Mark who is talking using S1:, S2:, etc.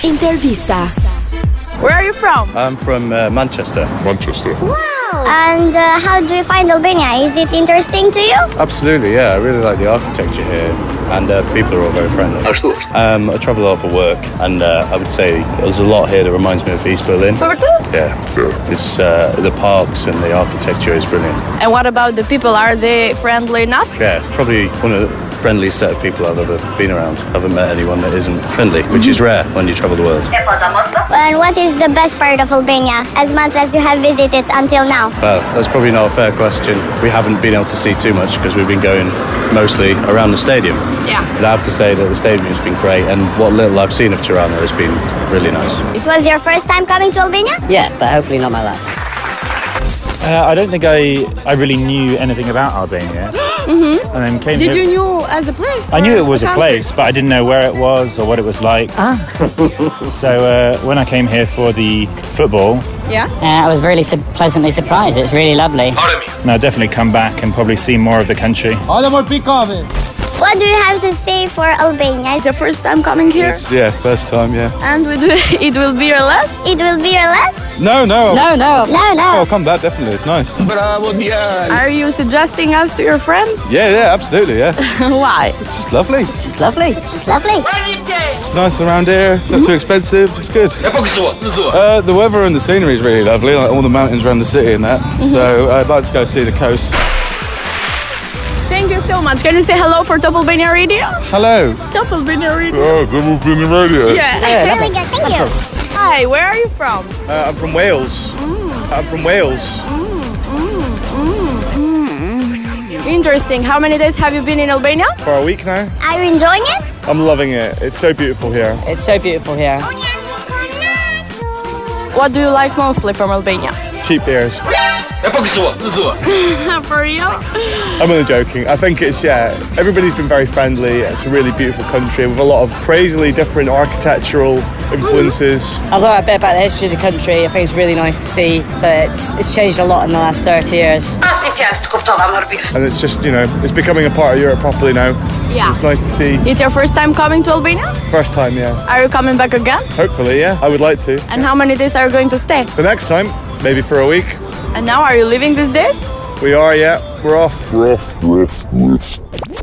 S1: Intervista.
S2: Where are you from?
S3: I'm from uh, Manchester.
S4: Manchester.
S5: And uh, how do you find Albania? Is it interesting to you?
S3: Absolutely, yeah. I really like the architecture here, and uh, people are all very friendly.
S6: Ashtu është.
S3: Um, I travel a lot for work, and uh, I would say there's a lot here that reminds me of East Berlin.
S2: Vërtet?
S3: Yeah, it's uh, the parks and the architecture is brilliant.
S2: And what about the people? Are they friendly enough?
S3: Yeah, it's probably one of the friendliest set of people I've ever been around. I haven't met anyone that isn't friendly, which is rare when you travel the world.
S5: And what is the best part of Albania as much as you have visited until now?
S3: Well, that's probably not a fair question. We haven't been able to see too much because we've been going mostly around the stadium.
S2: Yeah.
S3: But I have to say that the stadium has been great, and what little I've seen of Tirana has been really nice.
S5: It was your first time coming to Albania?
S7: Yeah, but hopefully not my last.
S8: Uh, I don't think I, I really knew anything about Albania. mm-hmm. And then came
S2: Did
S8: here.
S2: you knew as a place?
S8: I knew
S2: or
S8: it was a
S2: country?
S8: place, but I didn't know where it was or what it was like. Ah. so uh, when I came here for the football,
S2: Yeah.
S7: Uh, I was really su- pleasantly surprised. It's really lovely.
S8: and I'll definitely come back and probably see more of the country.
S5: What do you have to say for Albania?
S2: It's your first time coming here,
S3: It's, yeah, first time, yeah.
S2: and we do, it will be your last.
S5: It will be your last?
S3: No, no. Oh.
S7: No, no.
S5: No, no.
S3: come back, definitely. It's nice.
S8: Uh,
S2: Are you suggesting us to your friend?
S3: Yeah, yeah, absolutely, yeah.
S2: Why?
S3: It's just lovely.
S7: It's just lovely.
S5: It's lovely.
S3: It's nice around here. It's not too expensive. It's good.
S6: E po gëzuar. Gëzuar.
S3: Uh, the weather and the scenery is really lovely, like all the mountains around the city and that. So I'd like to go see the coast.
S2: Thank you so much. Can you say hello for Top Albania Radio?
S3: Hello.
S2: Top Albania Radio.
S4: Oh, then we've been in radio.
S2: Yeah.
S5: It's really good. Thank you.
S2: Hi, where are you from?
S3: Uh, I'm from Wales. I'm from Wales.
S2: Interesting. How many days have you been in Albania?
S3: For a week now.
S5: Are you enjoying it?
S3: I'm loving it. It's so beautiful here.
S7: It's so beautiful here.
S2: What do you like mostly from Albania?
S3: Cheap beers.
S6: E po gëzuar. Gëzuar.
S2: for real?
S3: I'm only joking. I think it's yeah. Everybody's been very friendly. It's a really beautiful country with a lot of crazily different architectural influences.
S7: Although I bet about the history of the country, I think it's really nice to see that it's, it's changed a lot in the last 30 years.
S9: Asnjë fjalë të kuptova më rrëpirë.
S3: and it's just you know it's becoming a part of Europe properly now.
S2: Yeah.
S3: It's nice to see.
S2: It's your first time coming to Albania?
S3: First time, yeah.
S2: Are you coming back again?
S3: Hopefully, yeah. I would like to.
S2: And how many days are you going to stay?
S3: The next time, maybe for a week.
S2: And now are you leaving this day?
S3: We are, yeah. We're off.
S4: Rough, rough, rough.